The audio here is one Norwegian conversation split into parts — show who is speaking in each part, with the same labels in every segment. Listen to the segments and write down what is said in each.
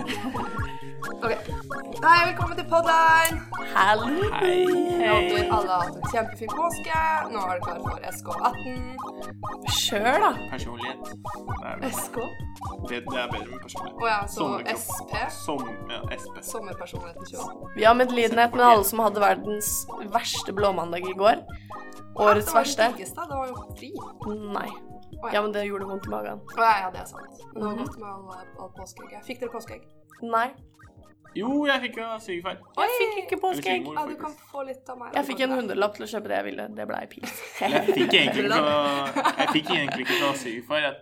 Speaker 1: Ok. Hei, velkommen til podden!
Speaker 2: Hallo!
Speaker 3: Hei.
Speaker 1: Jeg håper alle har hatt en kjempefin påske. Nå er det klar for SK18.
Speaker 2: Sjøl, da.
Speaker 3: Personlighet. Det er, vel-
Speaker 1: SK? Å
Speaker 3: det, det er bedre med personlighet.
Speaker 1: ja, så
Speaker 3: Sommerkropp.
Speaker 1: SP.
Speaker 3: Som, ja, SP.
Speaker 1: Sommerpersonligheten 28.
Speaker 2: Vi har medlidenhet med alle som hadde verdens verste blåmandag i går. Årets verste.
Speaker 1: Det var det diggeste, det var jo fri.
Speaker 2: Nei.
Speaker 1: Å
Speaker 2: Ja,
Speaker 1: ja.
Speaker 2: men det gjorde vondt i magen.
Speaker 1: Å ja, ja, det er sant. Men
Speaker 2: Mhm.
Speaker 1: det var godt med all, all påskeegg. Fikk dere påskeegg?
Speaker 2: Nei.
Speaker 3: Jo, jeg fikk av svigerfar.
Speaker 2: Jeg fikk ikke påskeegg.
Speaker 3: Eller
Speaker 1: Ja, du
Speaker 3: faktisk.
Speaker 1: kan få litt av meg.
Speaker 2: Jeg fikk en hundrelapp til å kjøpe det jeg ville. Det blei pils.
Speaker 3: Jeg fikk egentlig ikke fra, jeg fikk egentlig ikke fra svigerfar. Jeg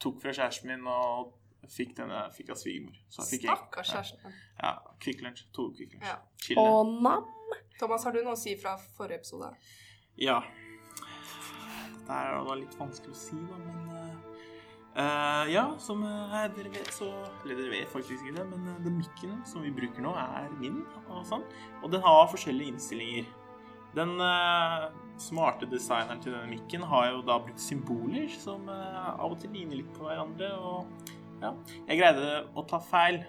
Speaker 3: tok fra kjæresten min og fikk denne fikk av svigermor. Så jeg fikk egentlig-
Speaker 1: Stakkars kjæresten. din.
Speaker 3: Ja, ja Kvikk Lunsj. To Kvikk Lunsj.
Speaker 1: Ja.
Speaker 3: Chill.
Speaker 2: Å, nam.
Speaker 1: Thomas, har du noe å si fra forrige episode?
Speaker 3: Ja. Dette er jo da litt vanskelig å si, da, men eh, eh, Ja, som eh, dere vet, så Eller dere vet faktisk ikke det, men eh, den mikken som vi bruker nå, er min, og sånn. Og den har forskjellige innstillinger. Den eh, smarte designeren til denne mikken har jo da brukt symboler som eh, av og til ligner litt på hverandre, og ja Jeg greide å ta feil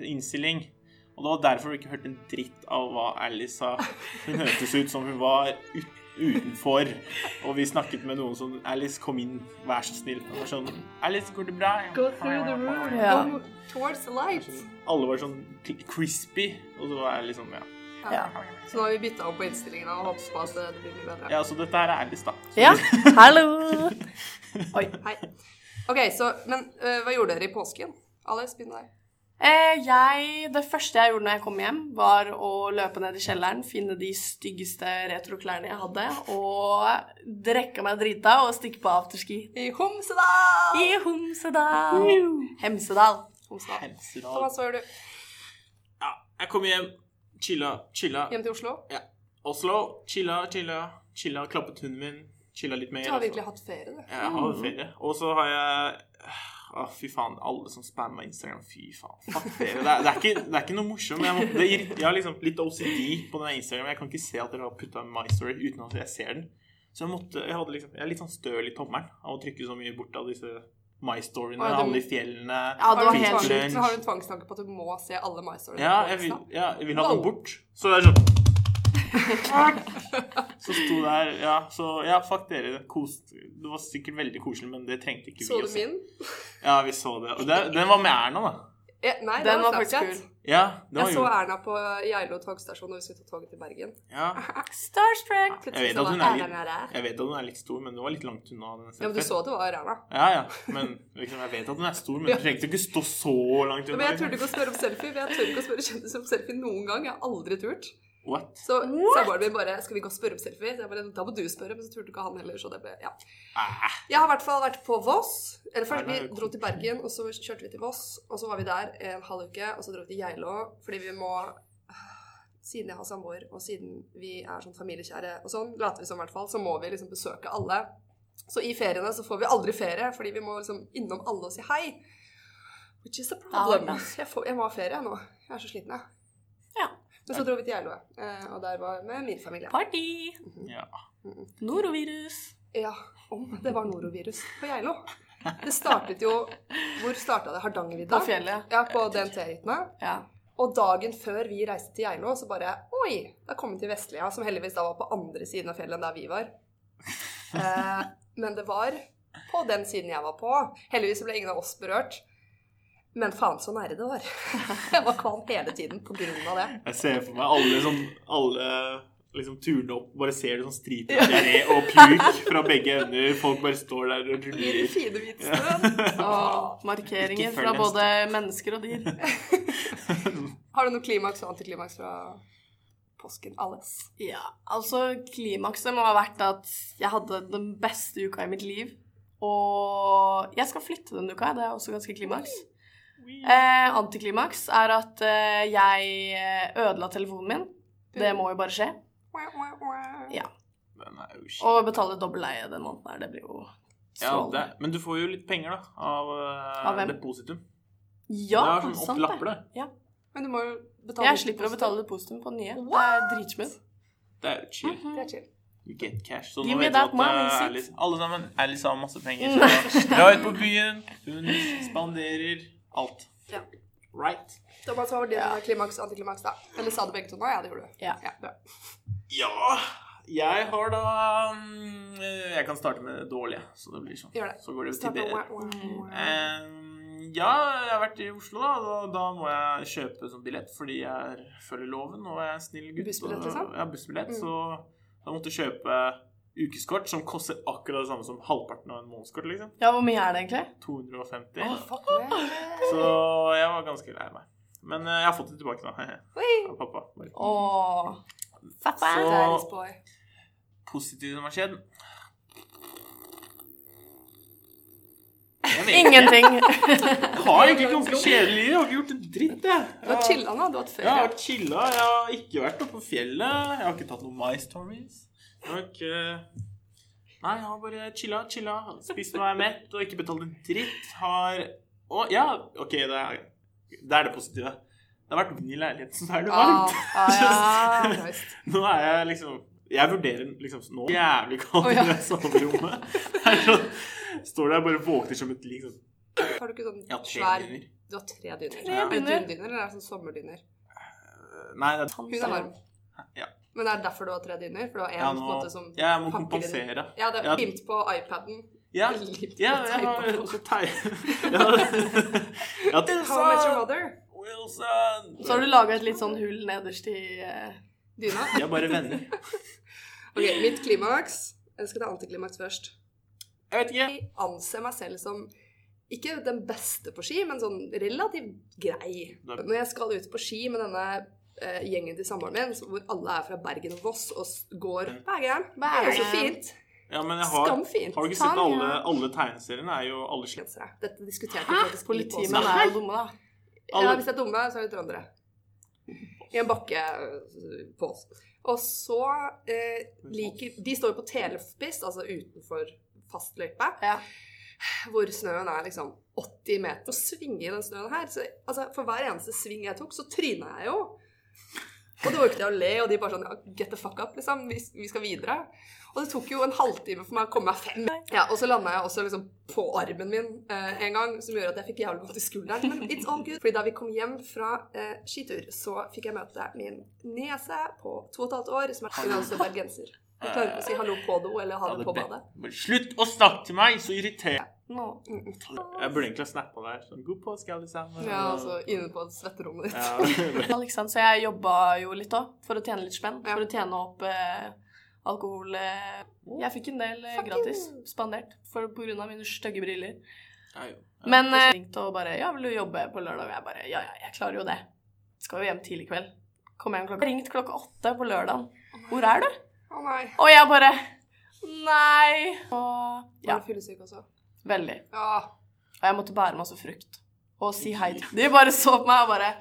Speaker 3: innstilling. Og det var derfor du ikke hørte en dritt av hva Alice sa. Hun hørtes ut som hun var ut utenfor, og vi snakket med noen som Alice, kom inn, vær så snill. Og var sånn Alice, går det bra?
Speaker 2: Ja.
Speaker 1: Go towards the light.
Speaker 3: Alle var sånn cl- crispy, og så var jeg liksom ja.
Speaker 2: Ja.
Speaker 1: Så nå har vi bytta opp på innstillingene og håper på at det blir mye bedre.
Speaker 3: ja, så dette her er Alice, da. Så
Speaker 2: Ja. Hallo! Oi.
Speaker 1: Hei. Ok, så, men øh, hva gjorde dere i påsken? Alice, begynn med deg.
Speaker 2: Eh, jeg, det første jeg gjorde når jeg kom hjem, var å løpe ned i kjelleren, finne de styggeste retroklærne jeg hadde, og drikke meg drita og stikke på afterski.
Speaker 1: I Homsedal!
Speaker 2: I Homsedal. Hemsedal.
Speaker 1: Homsedal.
Speaker 3: Hemsedal.
Speaker 1: Thomas, hva gjør du?
Speaker 3: Ja, jeg kom hjem, chilla, chilla.
Speaker 1: Hjem til Oslo?
Speaker 3: Oslo, chilla, chilla, chilla, klappet hunden min, chilla litt mer.
Speaker 1: Du har
Speaker 3: altså.
Speaker 1: virkelig hatt ferie, du.
Speaker 3: Jeg har ferie. Og så har jeg Å, fy faen. Alle som spammer Instagram. Fy faen. Fuck dere. Det er, det er, ikke, det er ikke noe morsomt. men Jeg, må, det, irrit- jeg har liksom litt OCD på den Instagram. Jeg kan ikke se at dere har putta My Story uten at jeg ser den. Så jeg, måtte, jeg, hadde liksom, jeg er litt sånn støl i tommelen av å trykke så mye bort av disse My Storyene.
Speaker 1: Å, ja, du-
Speaker 3: Alle i fjellene.
Speaker 2: Ja, det
Speaker 1: har,
Speaker 2: var
Speaker 1: du en
Speaker 2: helt
Speaker 1: tvang-
Speaker 3: sjukt.
Speaker 1: så har du en tvangstanke på at du må se alle My Stories?
Speaker 3: Ja,
Speaker 1: på
Speaker 3: jeg vil,
Speaker 1: Insta?
Speaker 3: ja, jeg vil ha den bort. Så det er sånn Så sto der Ja, så ja, fuck dere. Kos, det var sikkert veldig koselig, men det trengte ikke vi
Speaker 1: Så
Speaker 3: å
Speaker 1: du
Speaker 3: se.
Speaker 1: min?
Speaker 3: Ja, vi så det. Og det, den var med Erna, da.
Speaker 1: Ja, nei, det
Speaker 2: Den var faktisk
Speaker 1: Snapchat.
Speaker 2: kul.
Speaker 3: Ja, den var
Speaker 1: Jeg så
Speaker 3: jo
Speaker 1: Erna på Geilo togstasjon da vi skulle ta toget til Bergen.
Speaker 3: ja.
Speaker 2: Starstruck.
Speaker 3: Jeg vet
Speaker 1: så
Speaker 3: at hun
Speaker 1: var
Speaker 3: er litt-
Speaker 1: Erna der.
Speaker 3: Jeg vet at hun er litt stor, men hun var litt langt unna. den
Speaker 1: Ja, men du
Speaker 3: selfien.
Speaker 1: så det var Erna.
Speaker 3: Ja, ja. Men liksom, jeg vet at hun er stor, men
Speaker 1: Ja.
Speaker 3: du trengte ikke stå så langt
Speaker 1: Men
Speaker 3: unna. liksom.
Speaker 1: jeg turte ikke å spørre om selfie, for jeg tør ikke å spørre kjendiser om selfie noen gang. Jeg har aldri turt.
Speaker 3: What?
Speaker 1: Så samboeren min bare 'Skal vi gå og spørre om selfie?' Så jeg bare 'Da må du spørre', men så turte ikke han heller, så det ble Ja.
Speaker 3: Ah,
Speaker 1: Jeg har i hvert fall vært på Voss. Eller først,
Speaker 3: Nei, nei,
Speaker 1: vi dro til Bergen, og så kjørte vi til Voss. Og så var vi der en halv uke, og så dro vi til Geilo, fordi vi må Siden jeg har samboer, og siden vi er sånn familiekjære og sånn, later vi som i hvert fall, så må vi liksom besøke alle. Så i feriene så får vi aldri ferie, fordi vi må liksom innom alle og si hei. Which is a problem.
Speaker 2: Ja,
Speaker 1: Jeg, får, jeg må ha ferie nå. Jeg er så sliten, jeg.
Speaker 2: Ja.
Speaker 1: Men så dro vi til Geilo, eh, og der var med min familie.
Speaker 2: Party.
Speaker 3: ja.
Speaker 2: Norovirus.
Speaker 1: Ja, om det var norovirus på Geilo. Det startet jo Hvor starta det? Hardangervidda?
Speaker 2: På fjellet.
Speaker 1: Ja, på DNT-hyttene.
Speaker 2: Ja.
Speaker 1: Og dagen før vi reiste til Geilo, så bare Oi! Da kom vi til Vestlia, som heldigvis da var på andre siden av fjellet enn der vi var. Eh, men det var på den siden jeg var på. Heldigvis ble ingen av oss berørt. Men faen så nære det var. Jeg var kvalm hele tiden på grunn av det.
Speaker 3: Jeg ser for meg alle sånn Alle liksom turene opp, bare ser du sånn striper av diaré og puk fra begge ender. Folk bare står der og
Speaker 1: I den
Speaker 3: ruller.
Speaker 1: fine hvitstuen.
Speaker 2: Og
Speaker 3: Ikke
Speaker 2: markeringer
Speaker 3: før
Speaker 2: fra
Speaker 3: neste.
Speaker 2: både mennesker og dyr.
Speaker 1: Har du noe klimaks og antiklimaks fra påsken? Alles?
Speaker 2: Ja, altså klimakset må ha vært at jeg hadde den beste uka i mitt liv. Og jeg skal flytte den uka, det er også ganske klimaks. Eh, antiklimaks er at eh, jeg eh, ødela telefonen min. Det må jo bare skje. Ja.
Speaker 3: Den er jo
Speaker 2: Og betale dobbel leie den måneden her, det blir jo
Speaker 3: ja, det,
Speaker 2: strålende.
Speaker 3: men du får jo litt penger, da, av, eh,
Speaker 2: Av hvem?
Speaker 3: depositum.
Speaker 2: Ja,
Speaker 3: det er sånn
Speaker 2: sant
Speaker 3: åtte lapper,
Speaker 2: det.
Speaker 3: det.
Speaker 1: Men du må jo betale
Speaker 2: Jeg slipper å betale depositum på den nye. Det er dritsmooth.
Speaker 3: Det er jo chill.
Speaker 1: Det er chill.
Speaker 3: You get cash. Så
Speaker 2: Mhm. Give
Speaker 3: nå
Speaker 2: me
Speaker 3: vet du
Speaker 2: that
Speaker 3: at
Speaker 2: money, Mm.
Speaker 3: eh,
Speaker 2: sit.
Speaker 3: Alice, alle sammen Alice har masse penger. Så dra ut på byen. Hun spanderer alt.
Speaker 1: Ja.
Speaker 3: Right?
Speaker 1: Det var bare så var det ja. klimaks og antiklimaks, da. Eller sa du begge to nå? Ja, det gjorde du.
Speaker 2: Ja.
Speaker 1: bra.
Speaker 3: Ja Jeg har da mm, Jeg kan starte med det dårlige, så det blir sånn.
Speaker 1: Gjør det.
Speaker 3: Så går det til
Speaker 1: Start med
Speaker 3: dere.
Speaker 1: wah, wah, wah.
Speaker 3: Ehm, ja, jeg har vært i Oslo, da. Da, da må jeg kjøpe sånn billett fordi jeg følger loven og jeg er en snill gutt.
Speaker 1: Bussbillett,
Speaker 3: og-
Speaker 1: liksom?
Speaker 3: Ja, bussbillett.
Speaker 1: Mm.
Speaker 3: Så jeg måtte kjøpe ukeskort som koster akkurat det samme som halvparten av en månedskort, liksom.
Speaker 2: Ja, hvor mye er det egentlig?
Speaker 3: 250.
Speaker 1: Å, fuck meg.
Speaker 3: Så jeg var ganske lei meg. Men eh, jeg har fått det tilbake, da.
Speaker 1: Oi.
Speaker 3: Av pappa. Bare.
Speaker 2: Åh. Pappa.
Speaker 3: Så-
Speaker 1: Daddy's boy.
Speaker 3: Positivt som har skjedd Jeg vet ikke.
Speaker 2: Ingenting.
Speaker 3: Jeg har egentlig ganske kjedelig liv. Jeg har ikke gjort en dritt, jeg.
Speaker 1: Du har
Speaker 3: Jeg-
Speaker 1: chilla nå, du har hatt
Speaker 3: Jeg har
Speaker 1: ferie. Ah,
Speaker 3: chilla. Jeg har ikke vært oppe på fjellet. Jeg har ikke tatt noen My Stories. Jeg har ikke Nei, jeg har bare chilla, chilla. Spist meg mett og ikke betalt en dritt. Har Å, ja, OK, det er det, er det positive. Det har vært vind i leiligheten, så da er det varmt.
Speaker 1: Ah, ah, ja.
Speaker 3: Nå er jeg liksom Jeg vurderer liksom nå jævlig kaldt
Speaker 1: Å, ja.
Speaker 3: i det soverommet. Det er sånn- Står der og bare våkner som et lik. Sånn.
Speaker 1: Har du ikke sånn
Speaker 3: Jeg har tre
Speaker 1: svær
Speaker 3: dyner.
Speaker 1: Du har tre dyner.
Speaker 2: Tre
Speaker 1: Er det
Speaker 2: dyner.
Speaker 1: dundyner, eller er det sånn sommerdyner?
Speaker 3: Nei, det er
Speaker 1: Hun er varm.
Speaker 3: Ja.
Speaker 1: Men er det derfor du har tre dyner? For du har én
Speaker 3: ja,
Speaker 1: på en
Speaker 3: nå,
Speaker 1: måte som
Speaker 3: Jeg må
Speaker 1: pakker det inn.
Speaker 3: kompensere.
Speaker 1: Ja, det
Speaker 3: Ja.
Speaker 1: er limt på iPaden.
Speaker 3: Ja,
Speaker 1: Limt
Speaker 3: ja
Speaker 1: på
Speaker 3: jeg har
Speaker 1: iPaden.
Speaker 3: også tei... Ja, ja,
Speaker 1: How I Met Your
Speaker 3: Wilson!
Speaker 1: Mother.
Speaker 3: Wilson!
Speaker 2: Så har du laga et litt sånn hull nederst i eh,
Speaker 1: Dyna.
Speaker 3: Vi er bare venner.
Speaker 1: Ok, mitt klimaks. Jeg skal ta antiklimaks først.
Speaker 3: Jeg vet ikke.
Speaker 1: Jeg anser meg selv som ikke den beste på ski, men sånn relativt grei.
Speaker 3: Da-
Speaker 1: Når jeg skal ut på ski med denne eh, gjengen til samboeren min, hvor alle er fra Bergen og Voss, og s- går Bergen, Bergen. Det er så
Speaker 2: Bergen.
Speaker 1: fint.
Speaker 3: Ja, men jeg har,
Speaker 1: Skamfint.
Speaker 3: har du ikke sett
Speaker 2: Tanja.
Speaker 3: alle, alle tegneseriene? Er jo alle slem.
Speaker 1: Bergensere. Dette diskuterte vi faktisk litt på
Speaker 2: Politimenn
Speaker 1: også.
Speaker 2: er jo dumme, da.
Speaker 1: Ja,
Speaker 3: Alle,
Speaker 1: hvis det er dumme, så er det trøndere. I en bakke øh, på oss. Og så eh, liker De står jo på telespiss, altså utenfor fastløype,
Speaker 2: Ja.
Speaker 1: hvor snøen er liksom 80 meter. Å svinge i den snøen her så, altså, For hver eneste sving jeg tok, så tryna jeg jo. Og det orket jeg å le, og de bare sånn ja, Get the fuck up, liksom. Vi, vi skal videre. Og det tok jo en halvtime for meg å komme meg fem. Ja, og så landa jeg også liksom på armen min eh, en gang, som gjør at jeg fikk jævlig vondt i skulderen. Men it's all good. Fordi da vi kom hjem fra eh, skitur, så fikk jeg møte min niese på to og et halvt år, som er hun er også bergenser. Hun klarer ikke å si hallo på do eller ha
Speaker 3: Ja,
Speaker 1: det
Speaker 3: det
Speaker 1: på
Speaker 3: be-
Speaker 1: badet.
Speaker 3: Bare eh, Slutt å snakke til meg! Så irriterende.
Speaker 2: Nå.
Speaker 3: Jeg burde egentlig ha snappa der. Sånn, God påske, alle sammen.
Speaker 1: Ja, altså inne på svetterommet ditt.
Speaker 3: Ja.
Speaker 2: Ja, ikke sant? liksom. Så jeg jobba jo litt òg, for å tjene litt spenn. For å tjene opp eh, alkohol. Eh. Jeg fikk en del eh,
Speaker 1: Fuck
Speaker 2: gratis.
Speaker 1: you.
Speaker 2: Spandert. For, på grunn av mine stygge briller.
Speaker 3: Ja, jo. Ja.
Speaker 2: Men eh, ringte og bare 'Ja, vil du jobbe på lørdag?' Og jeg bare 'Ja, ja, jeg klarer jo det'. Skal jo hjem tidlig i kveld. Kom hjem klokka Ringt klokka åtte på lørdagen. 'Hvor er du?'
Speaker 1: Å nei.
Speaker 2: Og jeg bare 'Nei'. Og
Speaker 1: Ja.
Speaker 2: ja,
Speaker 1: Var du fyllesyk også?
Speaker 2: veldig.
Speaker 1: Ja.
Speaker 2: Og jeg måtte bære masse frukt. Og si hei. De bare så på meg og bare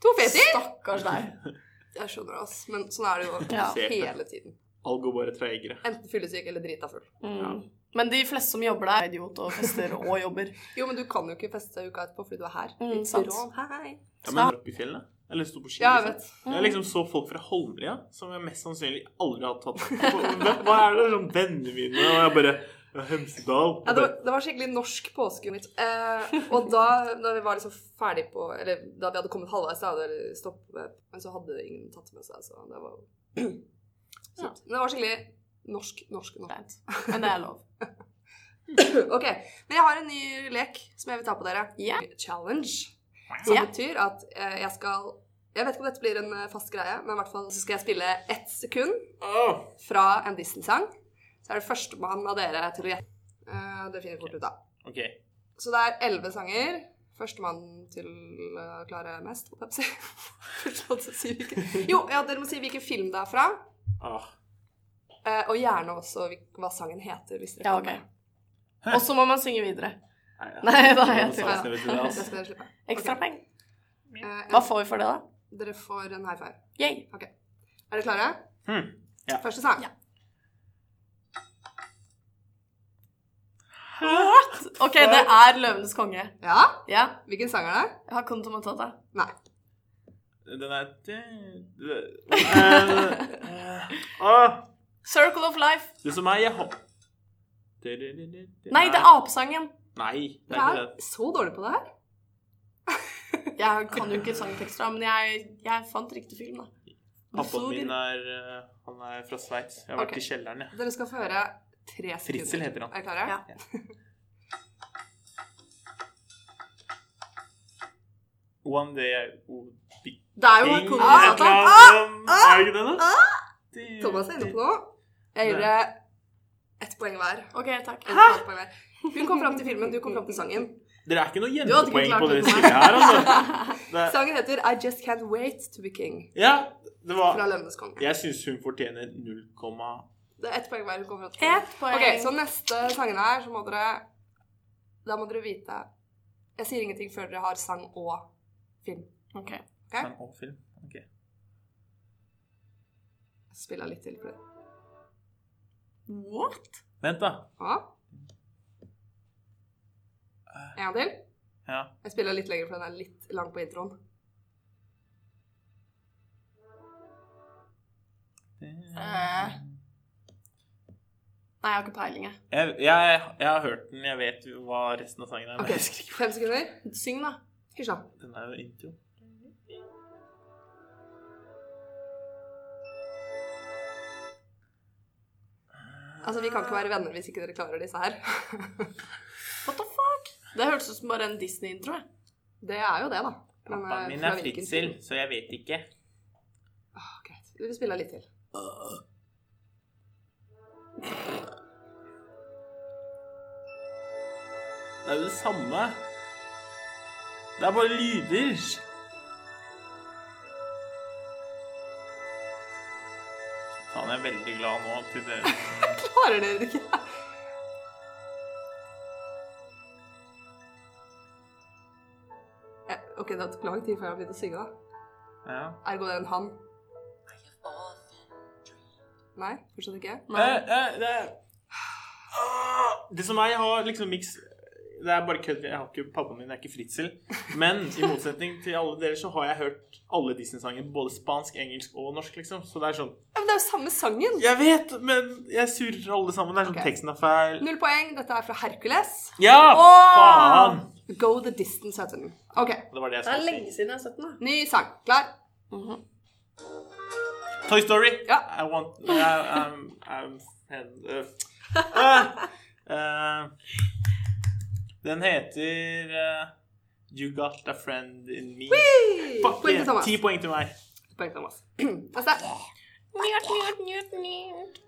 Speaker 1: To feter!
Speaker 2: Stakkars deg.
Speaker 1: Jeg skjønner, ass. Men sånn er det jo
Speaker 2: Ja.
Speaker 1: hele tiden.
Speaker 3: Alt går bare treigere.
Speaker 1: Enten fyllesyk eller drita full.
Speaker 2: Mm. Men de fleste som jobber der, er idiot og fester og jobber.
Speaker 1: Jo, men du kan jo ikke feste uka etterpå fordi du er her.
Speaker 2: Mm,
Speaker 1: Litt
Speaker 2: sant.
Speaker 1: rån. Hei.
Speaker 3: Ja,
Speaker 2: Så-
Speaker 3: men opp i fjellet? Eller sto på ski?
Speaker 1: Ja, jeg
Speaker 3: liksom.
Speaker 1: vet.
Speaker 2: Mm.
Speaker 3: Jeg liksom så folk fra Holmlia som jeg mest sannsynlig aldri hadde tatt Hva- Hva er det sånn vennene mine Og jeg bare ja, Hemsedal.
Speaker 1: Ja, det, var, det var skikkelig norsk påske mitt. Eh, og da, da vi var liksom ferdig på Eller da vi hadde kommet halvveis, da hadde det stoppet, men så hadde ingen tatt med seg, så det var ja. Men det var skikkelig norsk, norsk, norsk.
Speaker 2: Greit. Men det er lov.
Speaker 1: OK. Men jeg har en ny lek som jeg vil ta på dere.
Speaker 2: Ja.
Speaker 1: Challenge. Som
Speaker 2: Ja.
Speaker 1: betyr at eh, jeg skal Jeg vet ikke om dette blir en eh, fast greie, men i hvert fall så skal jeg spille ett sekund
Speaker 3: Åh,
Speaker 1: fra en Disney-sang. Så er det førstemann av dere til å gjette. Eh, det finner vi fort ut av.
Speaker 3: OK.
Speaker 1: Så det er elleve sanger. Førstemann til å klare mest, holdt jeg på å si. Førstemann til å si hvilken Jo, ja, dere må si hvilken film det er fra.
Speaker 3: Ah.
Speaker 1: eh, Og gjerne også hvil- hva sangen heter, hvis dere kan
Speaker 2: Ja, ok.
Speaker 1: det.
Speaker 2: Og så må man synge videre.
Speaker 3: Nei, ja.
Speaker 2: Nei, da er jeg
Speaker 3: Det var
Speaker 1: til.
Speaker 3: sannsynlig til det,
Speaker 1: Det
Speaker 3: altså.
Speaker 1: skal dere slippe.
Speaker 2: Ekstra
Speaker 1: Ok.
Speaker 2: poeng.
Speaker 1: Eh,
Speaker 2: Hva får vi for det, da?
Speaker 1: Dere får en high five.
Speaker 2: Yay.
Speaker 1: Er dere klare?
Speaker 3: Hm. Ja.
Speaker 1: Første sang.
Speaker 2: Ja. What? OK, det er Løvenes konge.
Speaker 1: Ja?
Speaker 2: Ja.
Speaker 1: Hvilken sang er det?
Speaker 2: Jeg har Konto Matata.
Speaker 1: Nei.
Speaker 3: Den er Eh, eh, eh. Åh,
Speaker 2: Circle of life.
Speaker 3: Det som er, jeg hopp... Nei,
Speaker 2: Nei, det er apesangen.
Speaker 3: Nei, det er
Speaker 1: Jeg
Speaker 3: ikke
Speaker 1: er
Speaker 3: det.
Speaker 1: så dårlig på det her.
Speaker 2: Jeg kan jo ikke sangtekster, da, men jeg, jeg fant riktig film, da.
Speaker 3: Pappaen min er, eh, han er fra Sveits. Jeg har vært
Speaker 1: Ok.
Speaker 3: i kjelleren, jeg.
Speaker 1: Dere skal få høre tre sekunder.
Speaker 3: Fritzel heter han.
Speaker 1: Er dere klare?
Speaker 2: Ja.
Speaker 3: One day I would be
Speaker 2: Det er jo
Speaker 3: king
Speaker 2: Kong
Speaker 1: Ah,
Speaker 3: et eller
Speaker 2: Satan.
Speaker 3: annet. Er det ikke det, da? Det-
Speaker 1: Thomas er inne på noe. Jeg gir dere ett poeng hver.
Speaker 2: OK, takk.
Speaker 1: Ett halvt poeng hver. Hun kom fram til filmen, du kom fram til sangen.
Speaker 3: Dere er ikke noe
Speaker 2: Du hadde ikke
Speaker 3: jentepoeng
Speaker 2: klart
Speaker 3: på det
Speaker 2: det.
Speaker 3: spillet her, altså. Det er,
Speaker 1: Sangen heter I Just Can't Wait To Be King
Speaker 3: ja, det var
Speaker 1: fra Løvenes konge.
Speaker 3: Jeg syns hun fortjener 0,
Speaker 1: Det er ett poeng hver hun kom fram til.
Speaker 2: Ett poeng.
Speaker 1: Ok, så neste sangen her, så må dere Da må dere vite Jeg sier ingenting før dere har sang og film.
Speaker 2: Ok.
Speaker 1: Ja.
Speaker 3: en film. Ok.
Speaker 1: Jeg spiller litt til for det.
Speaker 2: What?
Speaker 3: Vent, da.
Speaker 1: Ja. En gang til.
Speaker 3: Ja.
Speaker 1: Jeg spiller litt lenger, for den er litt lang på introen.
Speaker 2: Eh. Nei, jeg har ikke peiling, jeg.
Speaker 3: Jeg, jeg, jeg har hørt den, jeg vet jo hva resten av sangen er. Men
Speaker 1: Ok,
Speaker 3: jeg husker ikke.
Speaker 1: Fem sekunder.
Speaker 2: Syng, da.
Speaker 1: Hysj, da.
Speaker 3: Den er jo intro.
Speaker 1: Altså, vi kan ikke være venner hvis ikke dere klarer disse her.
Speaker 2: What the fuck? Det hørtes ut som bare en Disney-intro. jeg.
Speaker 1: Det er jo det, da. Men,
Speaker 3: Pappaen
Speaker 1: eh,
Speaker 3: min
Speaker 1: fra
Speaker 3: er
Speaker 1: hvilken
Speaker 3: Fritzel,
Speaker 1: film?
Speaker 3: så jeg vet ikke.
Speaker 1: Åh, greit. Vi spiller litt til.
Speaker 3: Det er jo det samme. Det er bare lyder. Faen, jeg er veldig glad nå til det.
Speaker 1: Klarer dere det ikke? Ja, Eh, OK, det har tatt lang tid før jeg har begynt å synge, da.
Speaker 3: Ja.
Speaker 1: Ergo det er en han. Nei, fortsatt ikke.
Speaker 2: Nei.
Speaker 3: Eh, eh, det, er- Ah, det som er, jeg har liksom miks Det er bare kødd. Jeg har ikke Pappaen min er ikke Fritzel. Men i motsetning til alle dere, så har jeg hørt alle Disney-sanger. Både spansk, engelsk og norsk, liksom. Så det er sånn
Speaker 1: Ja, men det er jo samme sangen!
Speaker 3: Jeg vet, men jeg surrer alle sammen. Det er sånn
Speaker 1: Ok.
Speaker 3: teksten er feil.
Speaker 1: Null poeng. Dette er fra Hercules.
Speaker 3: Ja! Faen!
Speaker 1: Go the distance, heter den. OK,
Speaker 3: Det var det jeg
Speaker 2: Det er
Speaker 3: skulle si.
Speaker 2: lenge siden jeg har sett den, da.
Speaker 1: ny sang. Klar?
Speaker 3: Toy Story.
Speaker 1: Ja.
Speaker 3: I want I, I'm, I'm, and, uh, uh, uh, Den heter uh, You got a friend in me.
Speaker 1: Poeng
Speaker 3: Fuck
Speaker 1: til
Speaker 3: yeah.
Speaker 1: Thomas.
Speaker 3: Ti poeng til meg.
Speaker 1: Poeng til Thomas. Neste.
Speaker 2: Njert, njert, njert, njert.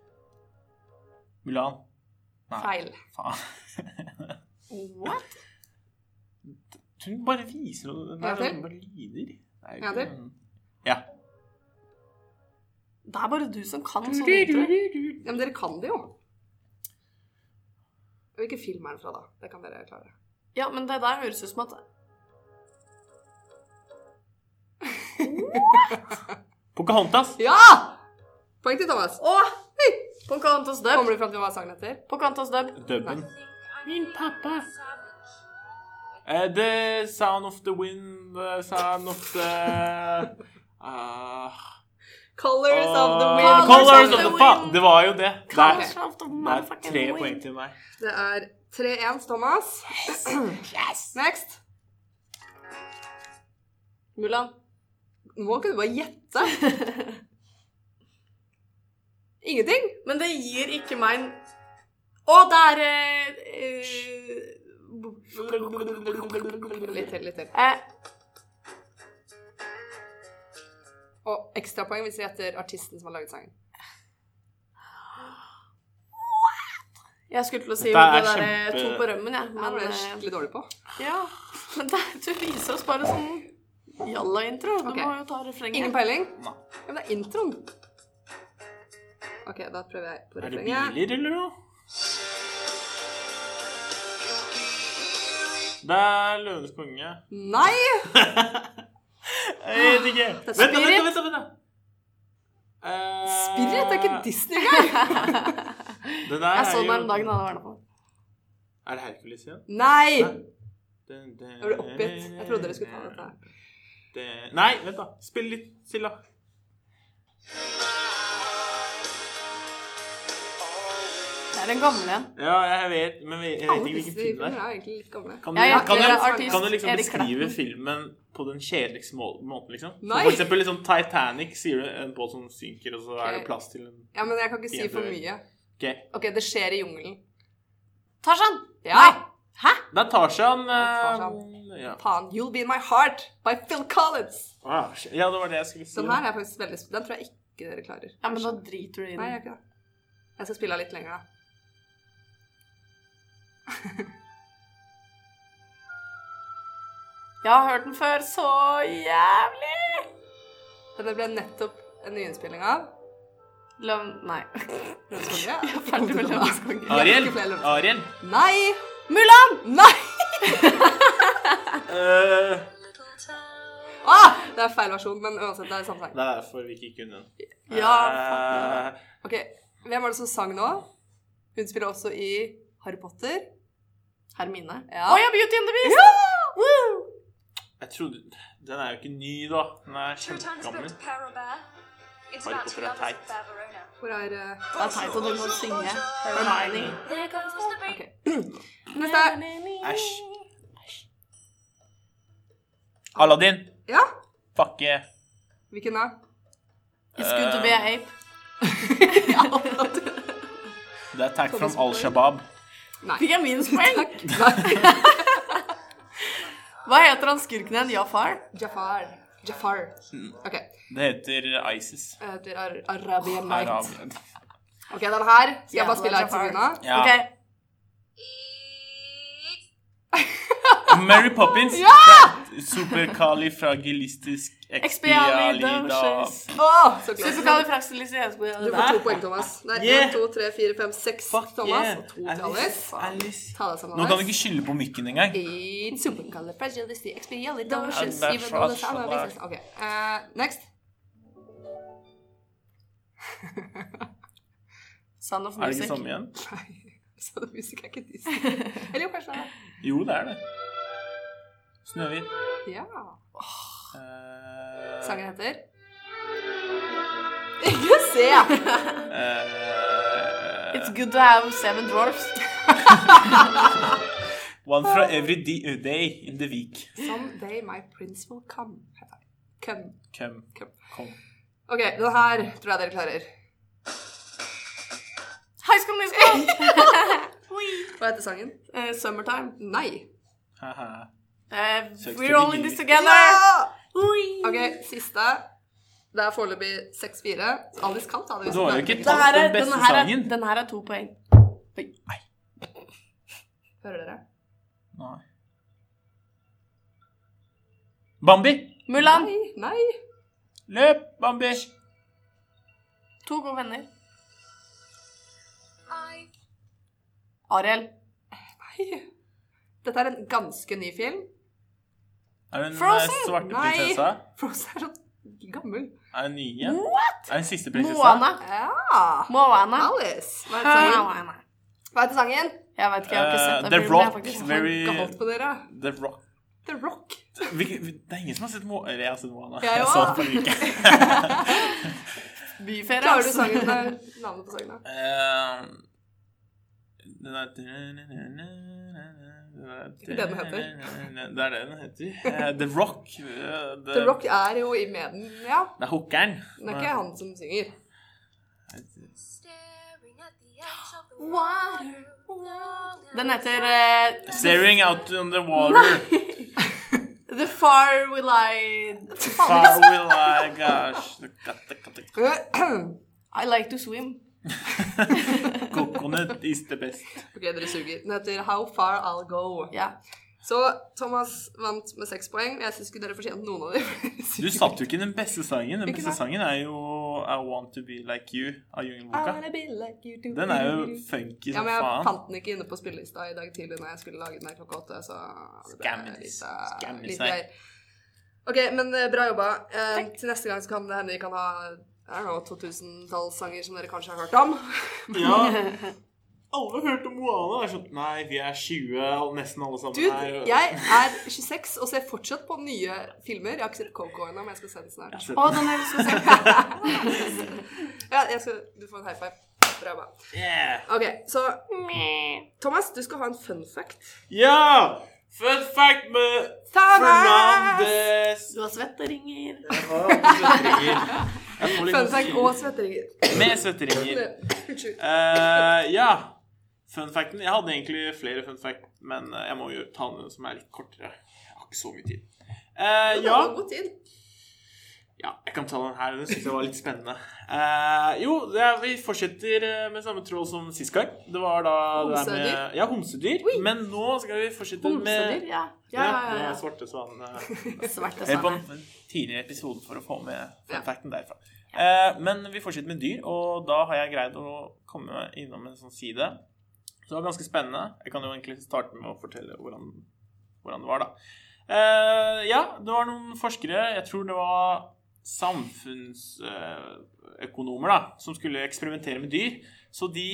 Speaker 3: Mulan. Nei.
Speaker 1: Feil.
Speaker 3: Faen.
Speaker 2: What?
Speaker 3: Hun bare viser noe
Speaker 1: En
Speaker 3: Den er
Speaker 1: til?
Speaker 3: sånn bare lyder. Det er jo
Speaker 1: En
Speaker 3: ikke
Speaker 1: til?
Speaker 3: noe- Ja.
Speaker 2: Det er bare du som kan sånne introer.
Speaker 1: Ja, men dere kan det jo. Hvilken film er det fra, da? Det kan dere klare.
Speaker 2: Ja, men det der høres ut som at
Speaker 3: Pocahontas.
Speaker 1: Ja! Poeng til Thomas.
Speaker 2: Å! Pocahontas dub.
Speaker 1: Kommer du fram til hva sangen heter?
Speaker 2: Pocahontas dub.
Speaker 3: Dubben. Min pappa. Eh, the sound of the wind, the sound of the eh, Ah.
Speaker 1: Colors of the
Speaker 3: Ah,
Speaker 1: Wind.
Speaker 3: Colors
Speaker 2: of
Speaker 3: of
Speaker 2: the
Speaker 3: the Faen,
Speaker 2: wind.
Speaker 3: det var jo det. Det er,
Speaker 2: Colours of the
Speaker 3: det er
Speaker 2: motherfucking
Speaker 3: tre
Speaker 2: wind.
Speaker 3: poeng til meg.
Speaker 1: Det er 3-1 til Thomas. Next.
Speaker 2: Mulan.
Speaker 1: Nå kan du bare gjette. Ingenting.
Speaker 2: Men det gir ikke meg en Å, det er eh, eh,
Speaker 1: Litt til, litt til.
Speaker 2: eh,
Speaker 1: Og ekstrapoeng hvis dere gjetter artisten som har laget sangen.
Speaker 2: Jeg skulle til å si
Speaker 3: Dette er
Speaker 2: det der eh,
Speaker 3: kjempe-
Speaker 2: to på rømmen, jeg.
Speaker 1: Det
Speaker 2: Men,
Speaker 1: ble jeg
Speaker 2: eh,
Speaker 1: skikkelig dårlig på.
Speaker 2: ja. men det, du viser oss bare sånn jalla-intro. Du
Speaker 1: Ok.
Speaker 2: må jo ta
Speaker 1: Ingen
Speaker 2: refrenget.
Speaker 1: peiling?
Speaker 3: Nei.
Speaker 1: Ja, men det er introen. OK, da prøver jeg på
Speaker 3: Er det
Speaker 1: refrenget.
Speaker 3: biler eller noe? Det er Løvenes konge. Eh,
Speaker 1: Nei!
Speaker 3: Jeg vet
Speaker 1: Det
Speaker 3: ikke.
Speaker 1: er
Speaker 3: Vent, da,
Speaker 1: Spirit.
Speaker 3: vent, da, vent, da. Eh,
Speaker 1: Spirit er ikke Disney engang!
Speaker 3: Det der
Speaker 2: Jeg så
Speaker 3: er
Speaker 2: den
Speaker 3: jo
Speaker 2: her om dagen. da det var på.
Speaker 3: Er det Hercules igjen?
Speaker 1: Nei!
Speaker 3: Den- den-
Speaker 1: Jeg ble oppgitt. Jeg trodde dere skulle ta dette. her.
Speaker 3: Det- Nei, vent, da. Spill litt, Silla.
Speaker 2: er en gammel en.
Speaker 3: Ja, jeg vet, men jeg jeg vet
Speaker 1: Alle
Speaker 3: ikke hvilken film det
Speaker 1: Disney-filmer
Speaker 3: er.
Speaker 1: er egentlig litt gamle.
Speaker 3: Kan du,
Speaker 2: Jeg er
Speaker 3: kan
Speaker 2: aktuell
Speaker 3: du,
Speaker 2: artist
Speaker 3: kan du liksom
Speaker 2: Erik
Speaker 3: beskrive
Speaker 2: Clapton.
Speaker 3: filmen på den kjedeligste må måten, liksom? Så
Speaker 1: Nei.
Speaker 3: For eksempel liksom Titanic sier du en båt som synker, og så er det
Speaker 1: Ok.
Speaker 3: plass til en
Speaker 1: Ja, men jeg kan ikke si
Speaker 3: Jenter.
Speaker 1: for mye.
Speaker 3: Ok.
Speaker 1: Ok, det skjer i jungelen.
Speaker 2: Tarzan!
Speaker 1: Ja!
Speaker 3: Det er Tarzan.
Speaker 1: Tarzan.
Speaker 3: eh, Ja.
Speaker 1: Faen. You'll Be In My Heart by Phil Collins.
Speaker 3: Ah, shit. ja, det var det jeg skulle si.
Speaker 1: Den her er faktisk veldig sp- Den tror jeg ikke dere klarer.
Speaker 2: Ja, men da driter du i
Speaker 1: Nei, jeg
Speaker 2: den.
Speaker 1: gjør ikke det. Jeg skal spille av litt lenger, da.
Speaker 2: Jeg har hørt den før så jævlig!
Speaker 1: Denne ble nettopp en nyinnspilling av.
Speaker 2: Løvn... Nei.
Speaker 1: Lønnskonge.
Speaker 2: Jeg er ferdig med Løvens
Speaker 3: Ariel!
Speaker 1: Ikke flere lønnskonge.
Speaker 3: Ariel!
Speaker 1: Nei!
Speaker 2: Mulan!
Speaker 1: Nei!
Speaker 3: Eh,
Speaker 1: Ah, det er feil versjon, men uansett, det er samme sang.
Speaker 3: det er derfor vi ikke kunne den.
Speaker 2: Ja,
Speaker 3: Eh,
Speaker 1: Ok, Hvem var det som sang nå? Hun spiller også i Harry Potter.
Speaker 2: Hermine.
Speaker 1: Ja.
Speaker 2: Å ja, Beauty and the Beast! Woo!
Speaker 3: jeg trodde Den er jo ikke ny, da. Den er kjempegammel. Harry Potter er teit.
Speaker 1: Hvor er eh,
Speaker 2: Det er teit at hun må synge. Hermione.
Speaker 1: Ok. Neste.
Speaker 3: Æsj. Aladdin!
Speaker 1: Ja?
Speaker 3: Fuck yeah.
Speaker 1: Hvilken da?
Speaker 2: It's good to be a ape.
Speaker 3: Det er Attack from Al Shabaab.
Speaker 1: Nei.
Speaker 2: Fikk jeg minuspoeng?
Speaker 1: Nei.
Speaker 2: Hva heter han skurken igjen? Jafar?
Speaker 1: Jafar. Jafar. Ok.
Speaker 3: Det heter ISIS.
Speaker 1: Det heter Ar Arabian Night.
Speaker 3: Arabien.
Speaker 1: Ok, den her skal jeg bare
Speaker 2: Jævla
Speaker 1: spille her til
Speaker 2: Jafar.
Speaker 1: Sabrina.
Speaker 3: Ja.
Speaker 2: Ok.
Speaker 3: Mary Poppins. Ja! Superkalifragilistisk
Speaker 2: Expialidocious.
Speaker 3: ekspialidocious.
Speaker 1: Åh, så klart. Du får to
Speaker 2: Supercalifragilisticexpialidocious.
Speaker 1: poeng, Thomas. Det er
Speaker 3: Yeah.
Speaker 1: én, to, tre, fire, fem, seks Thomas og to til Alice.
Speaker 3: Alice.
Speaker 1: Ta deg sammen,
Speaker 3: Nå kan du
Speaker 1: Alice.
Speaker 3: ikke skylde på mikken engang.
Speaker 1: It's supercalifragilisticexpialidocious,
Speaker 3: Ja, det er
Speaker 1: even though the
Speaker 3: fra-
Speaker 1: sound of business- Ok, eh, next.
Speaker 2: Sound of
Speaker 3: Er det
Speaker 2: Music.
Speaker 3: ikke samme igjen?
Speaker 1: Så det musikk er ikke Disney. Eller jo, kanskje det er det.
Speaker 3: Jo, det er det. Snøhvit.
Speaker 1: Ja.
Speaker 2: Euh.
Speaker 3: Eh,
Speaker 1: Sangen heter Ikke se!
Speaker 3: eh,
Speaker 2: It's good to have seven dwarfs.
Speaker 3: eh. One fra every di- day in the week.
Speaker 1: Someday my prince will come. heter den. Come.
Speaker 3: Come.
Speaker 1: Come.
Speaker 3: Come.
Speaker 1: Ok, den her tror jeg dere klarer.
Speaker 2: High school musical!
Speaker 1: Hva heter sangen?
Speaker 2: Eh, summertime.
Speaker 1: Nei.
Speaker 3: Haha.
Speaker 2: Eh,
Speaker 3: Sex
Speaker 2: we're
Speaker 3: to
Speaker 2: all
Speaker 3: be
Speaker 2: in this
Speaker 3: gay.
Speaker 2: together.
Speaker 1: Ok, siste. Det er foreløpig 6-4. Alice kan ta det. hvis
Speaker 3: Du har
Speaker 1: hun
Speaker 3: jo ikke
Speaker 1: er-
Speaker 2: Den her er,
Speaker 3: Den beste
Speaker 2: den, her er,
Speaker 3: sangen.
Speaker 2: den her er to poeng.
Speaker 1: Hører dere?
Speaker 3: Nei. Bambi!
Speaker 2: Mulan.
Speaker 1: Nei, nei.
Speaker 3: Løp, Bambi!
Speaker 2: To gode venner. Ariel.
Speaker 1: nei. Dette er en ganske ny film.
Speaker 3: Er det den
Speaker 2: Frozen?
Speaker 3: eh, svarte
Speaker 1: Nei.
Speaker 3: prinsessa?
Speaker 1: Frozen er sånn gammel.
Speaker 3: Er det den nye? Er det den siste prinsessa?
Speaker 2: Moana.
Speaker 1: Ja.
Speaker 2: Moana.
Speaker 1: Alice. Hva heter sangen?
Speaker 2: Moana.
Speaker 1: Hva heter sangen?
Speaker 2: Jeg vet ikke, jeg har ikke
Speaker 3: Eh,
Speaker 2: sett den.
Speaker 3: The
Speaker 2: filmen, jeg har
Speaker 3: Rock,
Speaker 2: faktisk sett den.
Speaker 3: very-
Speaker 1: Galt på dere.
Speaker 3: The Rock.
Speaker 1: The Rock.
Speaker 3: Hvilke- Det er ingen som har sett Moana. Eller jeg har sett Moana.
Speaker 1: Jeg
Speaker 3: så
Speaker 1: også.
Speaker 3: den forrige uke.
Speaker 2: Byferie.
Speaker 1: Klarer du
Speaker 2: altså.
Speaker 1: sangen der? Navnet på sangen, da?
Speaker 3: Eh, Den er Det
Speaker 1: det den
Speaker 3: Det er det den heter. Eh, The Rock. eh, det-
Speaker 1: The Rock er jo i med den, ja.
Speaker 3: Det er hookeren.
Speaker 1: Det er ikke han som synger.
Speaker 2: Den heter eh,
Speaker 3: Staring out on the water.
Speaker 2: The Far Will I
Speaker 3: Far will I gosh.
Speaker 1: Ok,
Speaker 2: I Like To Swim.
Speaker 3: Coconut is the best.
Speaker 1: dere suger. Den heter How Far I'll Go.
Speaker 2: Ja.
Speaker 1: Så Thomas vant med seks poeng. Jeg syns ikke dere fortjente noen av dem.
Speaker 3: Du satt jo ikke den beste sangen. Den
Speaker 1: Hvilken
Speaker 3: beste
Speaker 1: da?
Speaker 3: sangen er jo I Want To Be Like You av Jungelboka. Den
Speaker 1: Den
Speaker 3: er jo funky
Speaker 1: Ja,
Speaker 3: som
Speaker 1: men jeg
Speaker 3: faen.
Speaker 1: fant den ikke inne på spillelista i dag tidlig når jeg skulle lage den her klokka åtte, så det ble
Speaker 3: Skammer-
Speaker 1: litt, eh,
Speaker 3: skammer
Speaker 1: litt
Speaker 3: seg.
Speaker 1: greier. Ok, men eh, bra jobba. Eh, til neste gang så kan det hende vi kan ha I don't know, 2000-tallssanger som dere kanskje har hørt om.
Speaker 3: Ja. Alle har hørt om Moana. Det er sånn Nei, vi er 20, og nesten alle sammen
Speaker 1: Dude, jeg er 26 og ser fortsatt på nye filmer. Jeg har ikke sett Coco ennå, men jeg skal se den snart.
Speaker 2: Å, den elsker jeg.
Speaker 1: Ja, jeg skal, du får en high five. Bra, bra.
Speaker 3: Yeah.
Speaker 1: OK, så Thomas, du skal ha en fun fact.
Speaker 3: Ja! Fun fact med Fernandes!
Speaker 2: Du har svetteringer.
Speaker 3: Jeg har alltid svetteringer. Jeg får litt sånn-
Speaker 1: Fun fact og svetteringer.
Speaker 3: Med svetteringer.
Speaker 1: Unnskyld.
Speaker 3: Eh, ja. Fun facten. Jeg hadde egentlig flere fun fact, men eh, jeg må gjøre ta noen som er litt kortere. Jeg har ikke så mye tid. Eh,
Speaker 1: Det
Speaker 3: ja.
Speaker 1: var god tid.
Speaker 3: ja, jeg kan ta den her. Den synes jeg var litt spennende. Eh, jo, det er, vi fortsetter eh, med samme tråd som sist gang. Det var da det der
Speaker 1: Homsedyr.
Speaker 3: med Ja, homsedyr.
Speaker 1: Oi.
Speaker 3: Men nå skal vi fortsette
Speaker 2: Homsedyr,
Speaker 3: med
Speaker 2: ja. Ja, ja,
Speaker 3: det
Speaker 2: ja.
Speaker 3: er svarte svanen. eh,
Speaker 2: ja. Svarte
Speaker 3: Hør på
Speaker 2: svaner.
Speaker 3: den tidligere episoden for å få med
Speaker 1: Ja.
Speaker 3: fun facten derfra. Eh, men vi fortsetter med dyr, og da har jeg greid å komme innom en sånn side. Så det var ganske spennende. Jeg kan jo egentlig starte med å fortelle hvordan, hvordan det var, da. Eh, ja, det var noen forskere, jeg tror det var samfunnsøkonomer, da, som skulle eksperimentere med dyr. Så de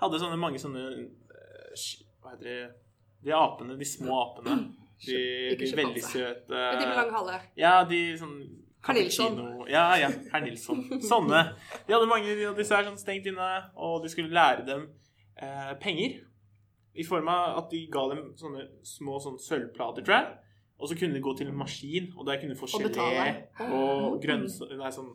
Speaker 3: hadde sånne mange sånne eh, sk- Hva heter det De apene, de små apene. De,
Speaker 1: Ikke
Speaker 3: de veldig
Speaker 1: sjimpanse.
Speaker 3: søte
Speaker 1: En time lang hale.
Speaker 3: ja, de sånn
Speaker 1: Herr Nilsson.
Speaker 3: cappuccino- Ja, ja, herr Nilsson. Sånne. De hadde mange av disse her sånn stengt inne, og de skulle lære dem eh, penger. I form av at de ga dem sånne små sånn sølvplater, tror jeg. Og så kunne de gå til en maskin, og der kunne de få
Speaker 2: Og
Speaker 3: gelé
Speaker 2: betale.
Speaker 3: og grønns... Nei, sånn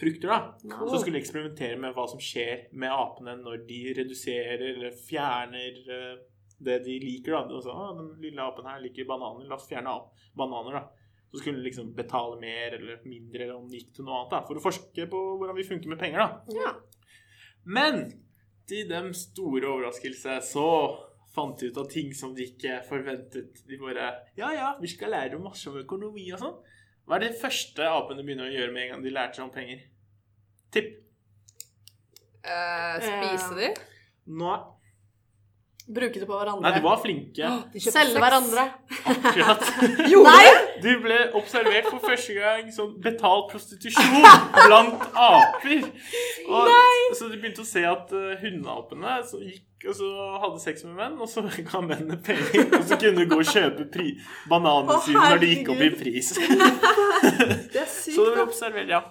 Speaker 3: frukter, da.
Speaker 2: Cool.
Speaker 3: Så skulle de eksperimentere med hva som skjer med apene når de reduserer eller fjerner eh, det de liker. da. Og så, ah, 'Den lille apen her liker bananer. La oss fjerne ap- bananer.' da. Så skulle de liksom betale mer eller mindre eller om det gikk til noe annet. da, For å forske på hvordan vi funker med penger. da.
Speaker 1: Ja.
Speaker 3: Men til dem store overraskelse så fant de ut av ting som de ikke forventet. De bare 'Ja, ja, vi skal lære dem masse om økonomi og sånn'. Hva er det første apene begynner å gjøre med en gang de lærte seg om penger? Tipp.
Speaker 1: Eh, spise de?
Speaker 3: Nei.
Speaker 2: Bruke det på hverandre.
Speaker 3: Nei, de var flinke.
Speaker 1: Åh, de kjøpte
Speaker 2: Selge
Speaker 1: sex.
Speaker 2: hverandre.
Speaker 3: Akkurat.
Speaker 1: Gjorde
Speaker 2: Nei!
Speaker 1: de?
Speaker 3: De ble observert for første gang som betalt prostitusjon blant aper. Og, Så de begynte å se at eh, hundeapene så gikk og så hadde sex med menn, og så ga mennene penger, og så kunne de gå og kjøpe pri bananene
Speaker 2: Å,
Speaker 3: sine når de gikk opp i
Speaker 2: herregud.
Speaker 3: pris.
Speaker 1: Det er sykt.
Speaker 3: Så de
Speaker 1: da.
Speaker 3: ble observert, ja.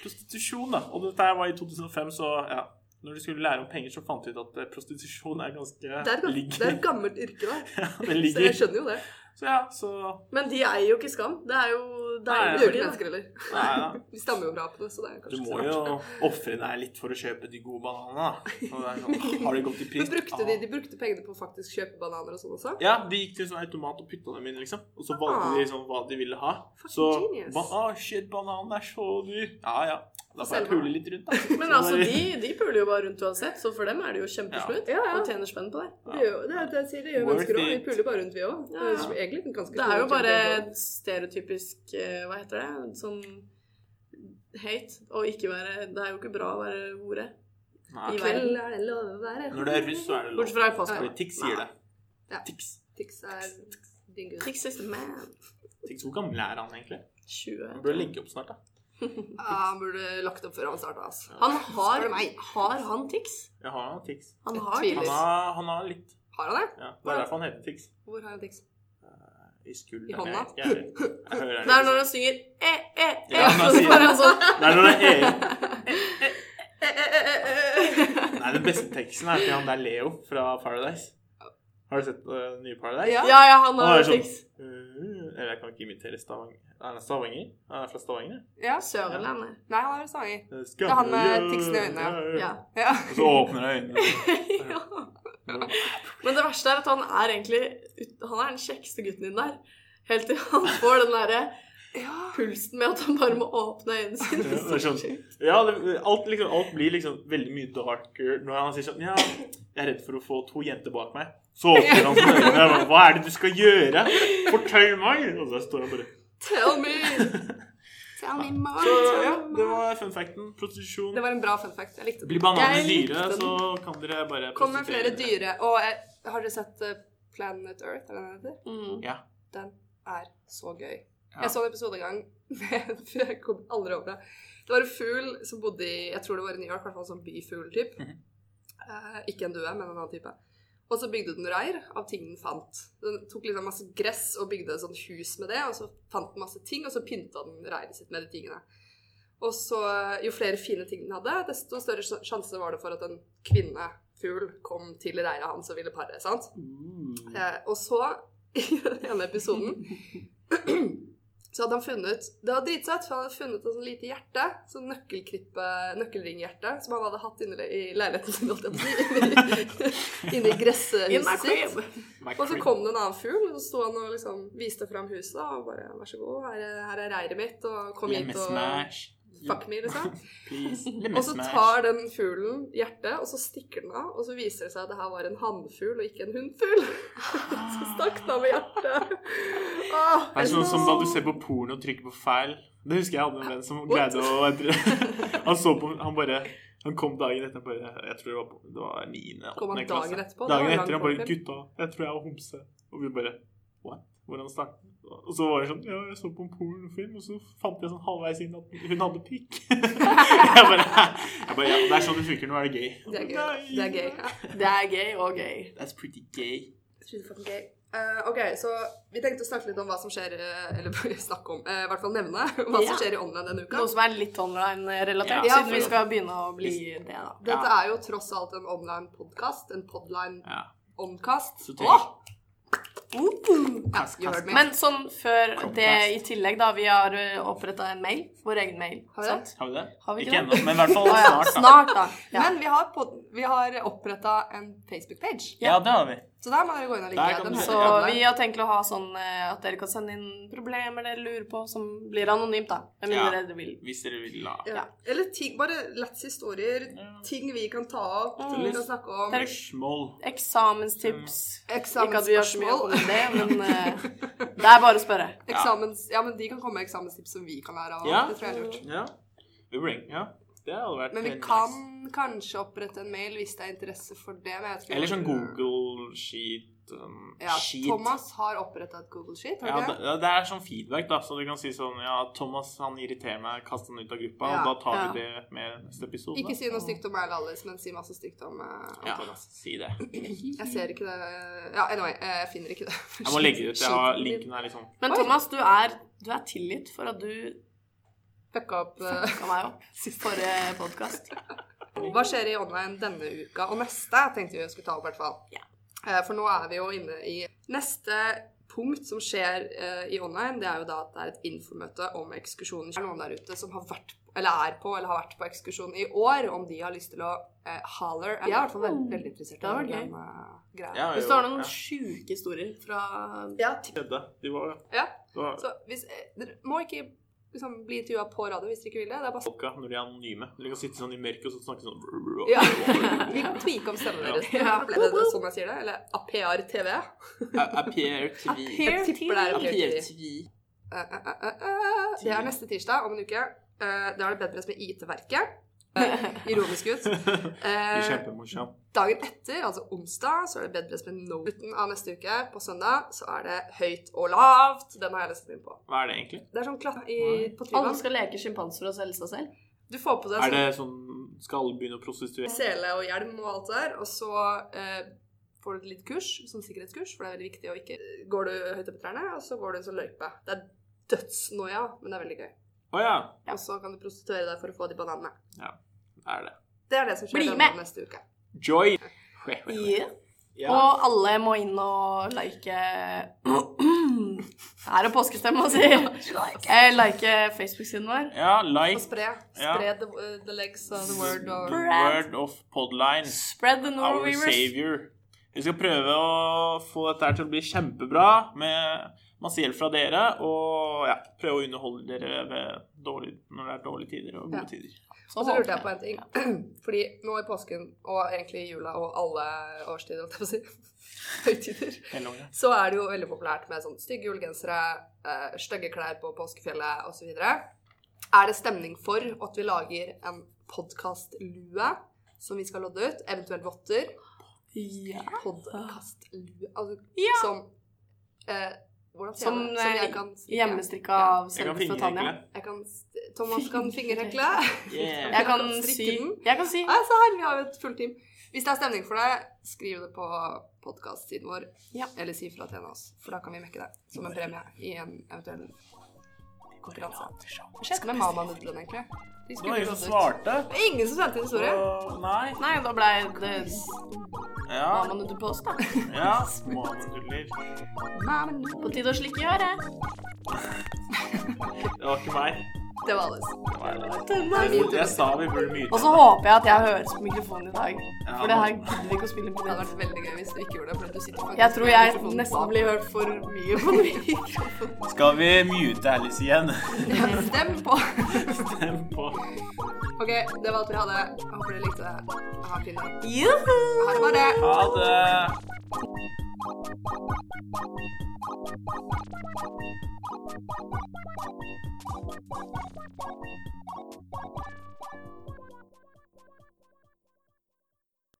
Speaker 3: Prostitusjon, da. Og dette her var i 2005, så ja. Når de skulle lære om penger, så fant de ut at eh, prostitusjon er ganske
Speaker 1: Det er, et gam- det er
Speaker 3: ligger.
Speaker 1: et gammelt yrke, da.
Speaker 3: Ja, det
Speaker 1: Så jeg
Speaker 3: ligger.
Speaker 1: skjønner jo det.
Speaker 3: Så ja, så
Speaker 1: Men de eier jo ikke Skam. Det er jo det er
Speaker 3: Nei,
Speaker 1: jo det gjør
Speaker 3: det
Speaker 1: ikke
Speaker 3: er
Speaker 1: mennesker heller.
Speaker 3: Nei, da.
Speaker 1: Vi stammer jo fra apene, så det er
Speaker 3: Du
Speaker 1: kanskje
Speaker 3: må
Speaker 1: ikke så rart.
Speaker 3: jo ofre deg litt for å kjøpe de gode bananene. da. Og det er sånn, har det gått i pris?
Speaker 1: Men brukte de,
Speaker 3: Ah.
Speaker 1: de brukte pengene på å faktisk kjøpe bananer og sånn også?
Speaker 3: Ja, de gikk til en sånn automat og putta dem inn, liksom. Og så valgte
Speaker 1: Ah.
Speaker 3: de sånn hva de ville ha.
Speaker 1: Fucking
Speaker 3: Så
Speaker 1: genius.
Speaker 3: ba, ah, shit, bananen er så dyr. Ja, ja. Da får jeg
Speaker 1: Selma.
Speaker 3: pule litt rundt, da.
Speaker 2: Men altså, de, de puler jo bare rundt uansett, så for dem er det jo kjempeslutt.
Speaker 1: Ja. Ja, ja.
Speaker 2: Og tjener spenn på det.
Speaker 1: Det gjør jo- det, er- det sier de gjør
Speaker 3: Worth
Speaker 1: mennesker òg. Vi
Speaker 3: it.
Speaker 1: puler bare rundt, vi òg.
Speaker 2: Ja,
Speaker 1: Det
Speaker 2: ja.
Speaker 1: er egentlig ganske
Speaker 2: Det er jo
Speaker 1: cool å
Speaker 2: bare
Speaker 1: kjempe på.
Speaker 2: stereotypisk eh, Hva heter det? Sånn hate. Og ikke være Det er jo ikke bra å være hore.
Speaker 3: Nei.
Speaker 2: I verden.
Speaker 1: Kveld er det lov å være
Speaker 3: Når du er russ, så er det
Speaker 2: Bortsett
Speaker 3: lov.
Speaker 2: fra i påska.
Speaker 3: Fordi Tix sier det.
Speaker 1: Ja.
Speaker 3: Tix.
Speaker 1: Tix er din gud.
Speaker 2: Tix is the man.
Speaker 3: Tix, Hvor gammel er han egentlig?
Speaker 2: 20.
Speaker 3: Han burde legge opp snart, da.
Speaker 1: Ja, Ah, han burde lagt opp før han starta, altså.
Speaker 2: Han har
Speaker 1: Spør meg.
Speaker 2: Har han Tix?
Speaker 3: Jeg har han Tix.
Speaker 2: Han
Speaker 1: Jeg
Speaker 2: har
Speaker 1: tviler.
Speaker 3: Han
Speaker 2: Tix.
Speaker 3: har, han har litt.
Speaker 1: Har han det?
Speaker 3: Ja, det er derfor han heter Tix.
Speaker 1: Hvor har han Tix?
Speaker 3: I skulderen.
Speaker 1: I hånda?
Speaker 3: Jeg, jeg, jeg, hører
Speaker 2: Det er når han synger e, e, e,
Speaker 3: Ja,
Speaker 2: og
Speaker 3: han
Speaker 2: så
Speaker 3: sier-
Speaker 2: bare sånn e,
Speaker 3: det er når det er EU.
Speaker 1: Eh, eh, eh, eh, eh.
Speaker 3: Nei, den beste teksten er til han der Leo fra Paradise. Har du sett øh, nye Paradise?
Speaker 1: Ja.
Speaker 2: Ja, ja, han
Speaker 3: Han er
Speaker 2: har
Speaker 3: sånn
Speaker 2: Tix.
Speaker 3: øh, Eller jeg kan ikke imitere Stavanger. Er han Stavanger? Han er fra Stavanger?
Speaker 1: Ja.
Speaker 2: Sørlandet.
Speaker 1: Nei, han er sanger.
Speaker 3: Det
Speaker 1: er han med tiksen i øynene,
Speaker 2: Ja.
Speaker 1: Ja.
Speaker 3: Og så åpner han øynene.
Speaker 2: ja. Men det verste er at han er egentlig ut- Han er den kjekkeste gutten din der. Helt til han får den derre pulsen med at han bare må åpne øynene sine.
Speaker 3: Ja, det er sånn. Ja, det, alt, liksom, alt blir liksom veldig mye darker når han sier sånn Ja, jeg er redd for å få to jenter bak meg. Så åpner han øynene. Jeg bare, Hva er det du skal gjøre? Fortell meg! Og så står han bare
Speaker 1: Tell me! Tell me more.
Speaker 3: Så ja, det var fun facten. Prostitusjon.
Speaker 1: Det var en bra fun fact. Jeg likte den.
Speaker 3: Blir bananer
Speaker 2: Jeg likte
Speaker 3: dyre,
Speaker 2: den.
Speaker 3: så kan dere bare
Speaker 1: Kom med flere
Speaker 3: prostituere dere.
Speaker 1: dyre. Og eh, har dere sett eh, Planet Earth? Eller hva den heter?
Speaker 2: Mm.
Speaker 3: Ja.
Speaker 1: Den er så gøy.
Speaker 3: Ja.
Speaker 1: Jeg så en episode en gang, men jeg kom aldri over det. Det var en fugl som bodde i Jeg tror det var i New York, i hvert fall en sånn byfugl-typ.
Speaker 3: Mhm.
Speaker 1: Eh, ikke en due, men en annen type. Og så bygde den reir av ting den fant. Den tok liksom masse gress og bygde et sånt hus med det, og så fant den masse ting, og så pynta den reiret sitt med de tingene. Og så eh, jo flere fine ting den hadde, desto større sj- sjanse var det for at en kvinnefugl kom til reiret hans og ville pare, sant?
Speaker 3: Mm.
Speaker 1: Eh, og så, i den ene episoden, så hadde han funnet Det var dritsøtt, for han hadde funnet et sånt lite hjerte, sånn nøkkelkrippe, nøkkelringhjerte, som han hadde hatt inne i leiligheten sin, holdt jeg på å si, inni- inni
Speaker 2: In my
Speaker 1: gresshuset sitt.
Speaker 2: crib!
Speaker 1: Og så kom det en annen fugl, og så sto han og liksom viste fram huset og bare 'Vær så god, her er, her er reiret mitt', og kom hit og Fuck me, liksom.
Speaker 3: Please.
Speaker 1: Og så tar den fuglen hjertet, og så stikker den av, og så viser det seg at det her var en hannfugl og ikke en hunnfugl. Så stakk den av med hjertet. Åh,
Speaker 3: Det er sånn som da du ser på porno og trykker på feil. Det husker jeg hadde en venn som greide å Han så på Han bare Han kom dagen etter og bare Jeg tror det var, på- det var 9.
Speaker 1: Kom han
Speaker 3: 8. klasse.
Speaker 1: dagen etterpå?
Speaker 3: Dagen
Speaker 1: Det var lang
Speaker 3: etter han bare
Speaker 1: påfyll.
Speaker 3: 'Gutta, jeg tror jeg var homse'. Og vi bare What? Hvordan startet det? Og så var det sånn Ja, jeg så på en pornofilm, og så fant jeg sånn halvveis inn at hun hadde pikk. jeg bare, jeg bare ja, Det er sånn det funker. Nå er det gay.
Speaker 1: Det er gøy.
Speaker 3: Nei.
Speaker 1: Det er gøy. Ja.
Speaker 2: Det er gøy og gøy.
Speaker 3: That's pretty gay.
Speaker 1: Jeg synes det er fucking gøy. Eh, ok, så Vi tenkte å snakke litt om hva som skjer eh, Eller snakke om, eh, i hvert fall nevne hva
Speaker 2: Ja.
Speaker 1: som skjer i online denne uka.
Speaker 2: Noe som er litt online-relatert,
Speaker 3: Ja,
Speaker 2: siden vi skal begynne å bli det, da.
Speaker 1: Dette er jo tross alt en online podkast. En podline
Speaker 3: Ja.
Speaker 1: omkast.
Speaker 3: Så
Speaker 1: Åh!
Speaker 2: Uh.
Speaker 1: Ja,
Speaker 3: Kast,
Speaker 1: you heard
Speaker 3: kast.
Speaker 1: me.
Speaker 2: Men sånn før
Speaker 3: Chromecast.
Speaker 2: det i tillegg, da. Vi har oppretta en mail. Vår egen mail.
Speaker 1: Har vi det?
Speaker 2: sant?
Speaker 3: Har vi det?
Speaker 2: Har vi
Speaker 3: ikke
Speaker 2: ikke
Speaker 3: ennå, men i hvert fall
Speaker 2: Å ja,
Speaker 3: snart. Da.
Speaker 2: snart, da. Ja.
Speaker 1: Men vi har, pod- vi har oppretta en Facebook-page.
Speaker 3: Ja, det har vi.
Speaker 1: Så der må dere gå inn og
Speaker 3: Der
Speaker 1: like.
Speaker 3: kan
Speaker 1: Den
Speaker 3: du-
Speaker 1: heter
Speaker 2: Så
Speaker 1: Podline.
Speaker 2: vi har tenkt å ha sånn eh, at dere kan sende inn problemer dere lurer på, som blir anonymt, da. Med
Speaker 3: Ja.
Speaker 2: mindre dere vil.
Speaker 3: Hvis dere vil la
Speaker 1: Ja. Eller ting, bare let's historier.
Speaker 3: Ja.
Speaker 1: Ting vi kan ta opp, ting vi
Speaker 2: Mm.
Speaker 1: kan snakke om.
Speaker 3: Spørsmål.
Speaker 2: Eksamenstips. Ikke at vi gjør så mye
Speaker 1: Eksamensspørsmål.
Speaker 2: om det, men eh, det er bare å spørre.
Speaker 1: Eksamens, ja, men de kan komme med eksamenstips som vi kan lære av.
Speaker 3: Ja.
Speaker 1: Det tror jeg er lurt.
Speaker 3: Ja. Vi bring, ja. Det hadde vært
Speaker 1: Men vi
Speaker 3: en
Speaker 1: kan
Speaker 3: nice.
Speaker 1: kanskje opprette en mail hvis det er interesse for det. Men jeg vet ikke
Speaker 3: Eller sånn Google-sheet. Um,
Speaker 1: Ja,
Speaker 3: sheet.
Speaker 1: Thomas har oppretta et Google Sheet.
Speaker 3: Ja,
Speaker 1: Har du
Speaker 3: det,
Speaker 1: det?
Speaker 3: ja, det er sånn feedback, da. Så du kan si sånn Ja, Thomas han irriterer meg, kast han ut av gruppa.
Speaker 1: Ja,
Speaker 3: og da tar
Speaker 2: ja.
Speaker 3: vi det med neste episode.
Speaker 1: Ikke si noe stygt om meg eller Alice, men si masse stygt om, eh, om
Speaker 3: Ja,
Speaker 1: Thomas.
Speaker 3: si det.
Speaker 1: Jeg ser ikke det Ja, anyway, eh, jeg finner ikke det.
Speaker 3: Jeg må legge det ut. Jeg har
Speaker 1: Sheeten min
Speaker 3: linken her, liksom.
Speaker 2: Men
Speaker 1: Oi.
Speaker 2: Thomas, du er, du er tilgitt for at du
Speaker 1: Fucka opp. eh,
Speaker 2: fucka meg opp sist forrige podkast.
Speaker 1: Hva skjer i online denne uka og neste, tenkte vi skulle ta opp i hvert fall.
Speaker 2: Ja.
Speaker 1: Eh, For nå er vi jo inne i neste punkt som skjer eh, i online, det er jo da at det er et infomøte om ekskursjonen. Er det noen der ute som har vært eller er på eller har vært på ekskursjon i år, om de har lyst til å eh, holler. Jeg er i hvert fall veldig, veldig interessert
Speaker 2: Det hadde vært
Speaker 1: den eh, greia.
Speaker 3: Ja,
Speaker 2: Hvis
Speaker 3: jo,
Speaker 2: du har noen
Speaker 3: ja.
Speaker 2: sjuke historier fra
Speaker 1: Ja, tipp-
Speaker 3: Skjedde. De var,
Speaker 1: Ja.
Speaker 3: det var
Speaker 1: Så hvis, eh, dere må ikke liksom, bli intervjua på radio hvis dere ikke vil det. Det er bare
Speaker 3: folka når de er anonyme. Du kan sitte sånn i mørket og så snakke sånn
Speaker 1: Ja. Vi kan tvike om stemmen deres.
Speaker 2: Ja.
Speaker 1: Ble det det sånn jeg sier det? Eller APR TV?
Speaker 3: Appear to be.
Speaker 1: Jeg tipper det er APR TV.
Speaker 3: TV.
Speaker 1: Eh, eh, eh, eh, eh. Det er neste tirsdag om en uke. Eh, Da er det bedpress med IT-verket. Eh, Ironisk ut. Eh,
Speaker 3: Kjempemorsomt.
Speaker 1: Dagen etter, altså onsdag, så er det bedpress med no. Slutten av neste uke, på søndag, så er det høyt og lavt. Den har jeg lyst inn på.
Speaker 3: Hva er det egentlig?
Speaker 1: Det er sånn klatt i, på
Speaker 2: Alle
Speaker 1: Tryvann.
Speaker 2: skal leke sjimpanser og selge seg selv.
Speaker 1: Du får på deg
Speaker 3: Er
Speaker 1: sånn
Speaker 3: det sånn Skal alle begynne å prostituere?
Speaker 1: sele og hjelm og alt det der, og så eh, får du et litt kurs, sånn sikkerhetskurs, for det er veldig viktig å ikke Går du høyt opp i trærne, og så går du en sånn løype. Det er dødsnoia, men det er veldig gøy.
Speaker 3: Å ja.
Speaker 1: Og så kan du prostituere deg for å få de bananene.
Speaker 3: Det er det.
Speaker 1: Det er det som skjer
Speaker 2: Bli
Speaker 1: denne
Speaker 2: med!
Speaker 1: neste uke.
Speaker 3: Joy.
Speaker 2: Ja.
Speaker 3: Ja.
Speaker 2: Og alle må inn og like Her er påskestemma si. Eh, Like Facebook-siden vår.
Speaker 3: ja,
Speaker 1: Og
Speaker 3: like
Speaker 1: spre.
Speaker 3: Ja.
Speaker 1: Spre the, the legs of the word.
Speaker 3: the
Speaker 1: Og...
Speaker 2: Brad.
Speaker 3: word of podline.
Speaker 2: Spread the
Speaker 3: Our
Speaker 2: Norwegians.
Speaker 3: savior. Vi skal prøve å få dette her til å bli kjempebra med masse hjelp fra dere. Og ja, prøve å underholde dere ved dårlig, når det er dårlige tider og gode
Speaker 1: Ja.
Speaker 3: tider.
Speaker 1: Og så lurte jeg på en ting. Fordi nå i påsken, og egentlig i jula og alle årstider, holdt jeg på å si, høytider,
Speaker 3: Hele året.
Speaker 1: så er det jo veldig populært med sånn stygge julegensere, eh, stygge klær på påskefjellet osv. Er det stemning for at vi lager en podkastlue som vi skal lodde ut, eventuelt votter?
Speaker 2: Ja.
Speaker 1: Podkastlue altså,
Speaker 2: Ja.
Speaker 1: Som eh, Hvordan sier
Speaker 2: Som,
Speaker 1: jeg det? Som jeg
Speaker 2: eh,
Speaker 1: kan
Speaker 2: Hjemmestrikka
Speaker 1: Ja.
Speaker 2: av
Speaker 3: Jeg kan
Speaker 2: selveste
Speaker 3: fingerhekle.
Speaker 2: Tanja.
Speaker 1: Jeg kan, Thomas kan fingerhekle.
Speaker 3: Yeah.
Speaker 2: Jeg kan
Speaker 1: Strikke
Speaker 2: si
Speaker 1: den.
Speaker 2: Jeg kan si
Speaker 1: Nei, se her, vi har jo et fullt team. Hvis det er stemning for det, skriv det på podkast-siden vår.
Speaker 2: Ja.
Speaker 1: Eller si fra til en av oss, for da kan vi mekke det som en premie i en eventuell konkurranse. Hva skjedde med Mama-nudlene, egentlig? De
Speaker 3: Det var
Speaker 1: skulle bli
Speaker 3: ingen som
Speaker 1: tatt ut.
Speaker 3: svarte.
Speaker 1: Det er ingen som sendte inn historie.
Speaker 3: Så, nei.
Speaker 2: Nei, da ble det
Speaker 3: Ja.
Speaker 2: mamma nudde på oss, da.
Speaker 3: ja. Manudler.
Speaker 2: På tide å slikke i øret.
Speaker 3: Det var ikke meg.
Speaker 1: Det var alles.
Speaker 3: Det var
Speaker 1: vi
Speaker 3: Jeg, jeg sa vi burde myte.
Speaker 2: Og så håper jeg at jeg høres på mikrofonen i dag.
Speaker 3: Ja,
Speaker 2: For det her
Speaker 3: men-
Speaker 2: gidder vi ikke å spille på
Speaker 1: Det hadde
Speaker 2: nett.
Speaker 1: vært veldig gøy hvis du ikke gjorde det. For du sitter faktisk
Speaker 2: Jeg tror
Speaker 1: med
Speaker 2: jeg
Speaker 1: mikrofonen
Speaker 2: nesten
Speaker 1: bak.
Speaker 2: blir hørt for mye på mikrofonen.
Speaker 3: Skal vi mute Alice igjen?
Speaker 1: Ja, Stem på.
Speaker 3: Stem på.
Speaker 1: OK, det var alt vi hadde. Jeg håper dere likte det. Ha en fin dag.
Speaker 2: Juhu!
Speaker 1: Ha det bra.
Speaker 3: Ha det.